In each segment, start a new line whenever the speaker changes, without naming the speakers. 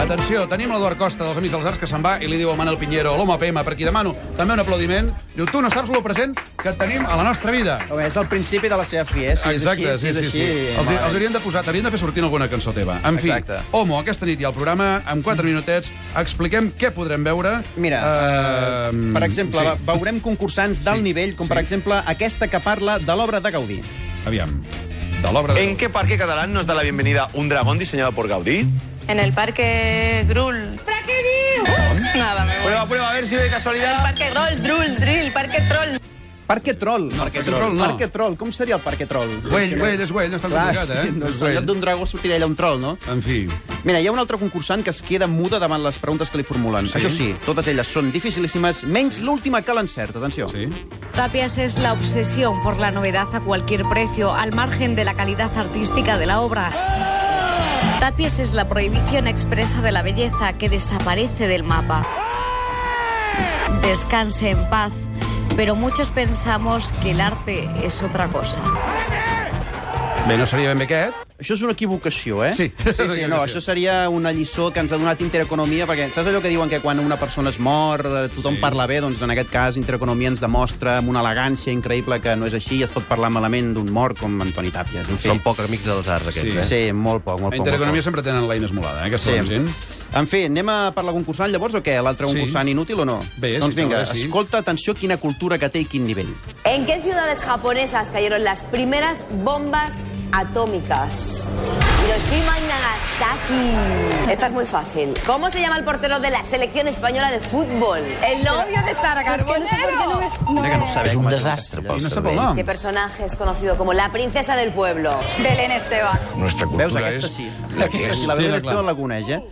Atenció, tenim l'Eduard Costa dels Amics dels Arts que se'n va i li diu al Manel Pinheiro, l'home PM, per qui demano també un aplaudiment. Diu, tu no saps lo present que tenim a la nostra vida.
Home, és el principi de la seva fi, eh? Si és
Exacte,
així,
sí,
si
sí,
és
sí.
així, eh,
Els,
home,
els haurien de posar, t'haurien de fer sortir en alguna cançó teva. En fi,
Exacte.
Homo, aquesta nit i al programa, amb 4 minutets, expliquem què podrem veure.
Mira,
Eh,
Per exemple,
sí.
sí. veurem concursants d'alt
Sí,
sí. nivell, com sí. per
sí.
exemple aquesta que parla de l'obra de Gaudí.
Aviam, de l'obra de...
¿En qué parque catalán nos da la bienvenida un dragón diseñado por Gaudí?
En el Parque Grul. ¿Para qué Nada, me voy.
Prueba, prueba, a ver si de casualidad.
Parque Grul, Drul, Drill, Parque Troll.
Parque Troll. No, parque
Troll. Troll no.
Parque Troll. Com seria el Parque Troll?
Güell, güell, és güell, no és tan
Clar,
complicat,
sí,
eh?
no,
És
és en lloc
güell.
d'un dragó sortirà allà un troll, no?
En fi,
Mira, hi ha un altre concursant que es queda muda davant les preguntes que li formulen.
Sí.
Això sí, totes elles són dificilíssimes, menys l'última que l'encert. Atenció.
sí.
Tapias es la obsesión por la novedad a cualquier precio, al margen de la calidad artística de la obra. Tapias es la prohibición expresa de la belleza que desaparece del mapa. Descanse en paz, pero muchos pensamos que el arte es otra cosa.
Bé, no seria ben bé aquest.
Això és una equivocació, eh?
Sí, és
sí,
una
sí no,
equivocació.
això seria una lliçó que ens ha donat Intereconomia, perquè saps allò que diuen que quan una persona es mor eh, tothom
Sí.
sí. parla bé? Doncs en aquest cas Intereconomia ens demostra amb una elegància increïble que no és així i es pot parlar malament d'un mort com Antoni Tàpies. En fi,
Són poc amics dels arts, aquests,
Sí.
eh?
sí, molt
A
poc, molt poc. molt poc.
Intereconomia sempre tenen l'eina esmolada, eh, aquesta sí. gent.
En fi, anem a per la concursant llavors o què? L'altre
Sí.
concursant inútil o no?
Bé,
doncs
sí,
vinga,
xaval, sí.
escolta, atenció quina cultura que té i quin nivell.
¿En qué ciudades japonesas cayeron las primeras bombas atómicas? Hiroshima y Nagasaki. Esta es muy fácil. ¿Cómo se llama el portero de la selección española de fútbol? Pues El novio de Sara Carbonero.
Mira que no sabem
És un
com es diu
desastre
I
pel
no sap el
cervell.
nom.
¿Qué personaje es conocido como la princesa del pueblo?
Belén Esteban.
Nuestra
Veus, aquesta sí. Aquesta sí, la
Sí,
Belén
era
Esteban
clar.
la coneix, eh?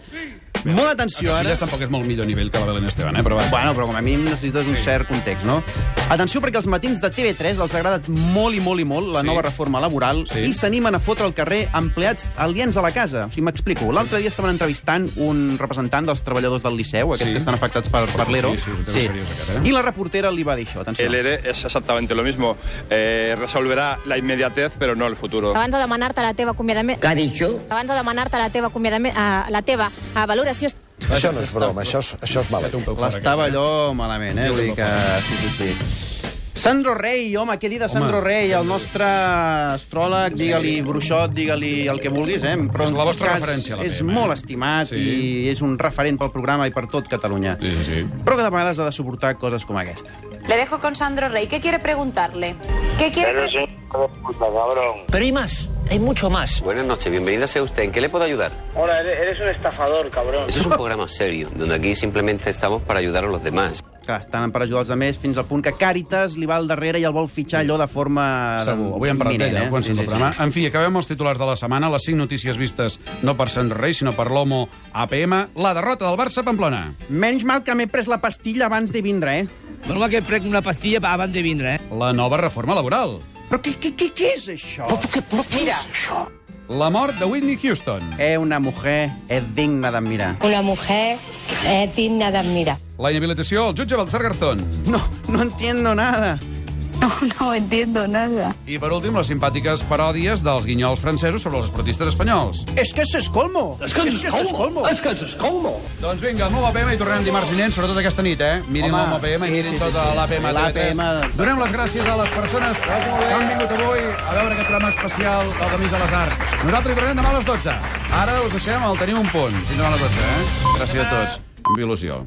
Molt atenció, ara.
Casillas tampoc és molt millor nivell que la Belén Esteban, eh? Però va.
Bueno, però com a mínim necessites un cert context, no? Atenció, perquè als matins de TV3 els ha agradat molt i molt i molt la
Sí.
nova reforma laboral
Sí.
i s'animen a fotre al carrer empleats aliens a la casa. O sigui, m'explico. L'altre dia estaven entrevistant un representant dels treballadors del Liceu, aquests
Sí.
que estan afectats per, per l'ERO.
Sí, sí, un tema seriós, aquest, eh?
I la reportera li va dir això, atenció.
El ERE es exactamente lo mismo. Eh, resolverá la inmediatez, pero no el futuro.
Abans de demanar-te la teva acomiadament... Què ha dit jo? Abans de demanar-te la teva acomiadament... Uh, la teva uh, valoració...
Això no és broma, això és, això és malament.
L'estava allò malament, eh?
Sí,
Vull dir
sí,
que... Sí, sí, sí. Sandro Rey, home, què dir de Sandro Rey, el nostre astròleg, digue-li bruixot, digue-li el que vulguis, eh? Però
És
en
la
tot
vostra
cas,
referència, la
És
PM.
molt estimat
Sí.
sí. i és un referent pel programa i per tot Catalunya.
Sí, sí, sí.
Però que de vegades ha de suportar coses com aquesta.
Le dejo con Sandro Rey. ¿Qué quiere preguntarle? ¿Qué quiere
Però hi més, hi mucho más.
Buenas noches, bienvenida sea usted. ¿En qué le puedo ayudar?
Hola, eres, eres un estafador, cabrón.
Este es un programa serio, donde aquí simplemente estamos para ayudar a los demás.
Clar, estan per ajudar els altres fins al punt que Càritas li va al darrere i el vol fitxar allò de forma...
Segur, avui hem parlat
imminent,
d'ella, eh? quan sí, sí, programa.
sí.
En fi, acabem els titulars de la setmana, les 5 notícies vistes no per Sant Rei, sinó per l'Homo APM, la derrota del Barça a Pamplona.
Menys mal que m'he pres la pastilla abans de vindre, eh?
Normal que prec una pastilla abans de vindre, eh?
La nova reforma laboral.
Però què, què, què, què és això?
Mira,
La mort de Whitney Houston.
Eh, una mujer es digna d'admirar.
Una mujer és digna d'admirar.
La inhabilitació al jutge Baltasar Garzón.
No, no entiendo nada.
No, no entiendo nada.
I, per últim, les simpàtiques paròdies dels guinyols francesos sobre els esportistes espanyols.
Es que eso es colmo. Es que eso es colmo. Es que eso es colmo.
Doncs vinga, el nou APM i tornem dimarts vinent, sobretot aquesta nit, eh? Mirin
Home,
el nou APM i
sí,
mirin
sí,
tota
sí, sí.
l'APM TV3.
l'APM.
Donem les gràcies a les persones que han vingut avui a veure aquest programa especial del Camís de les Arts. Nosaltres hi tornem demà a les 12. Ara us deixem el tenir un punt. Fins demà a les 12, eh? Gràcies a tots. Amb il·lusió.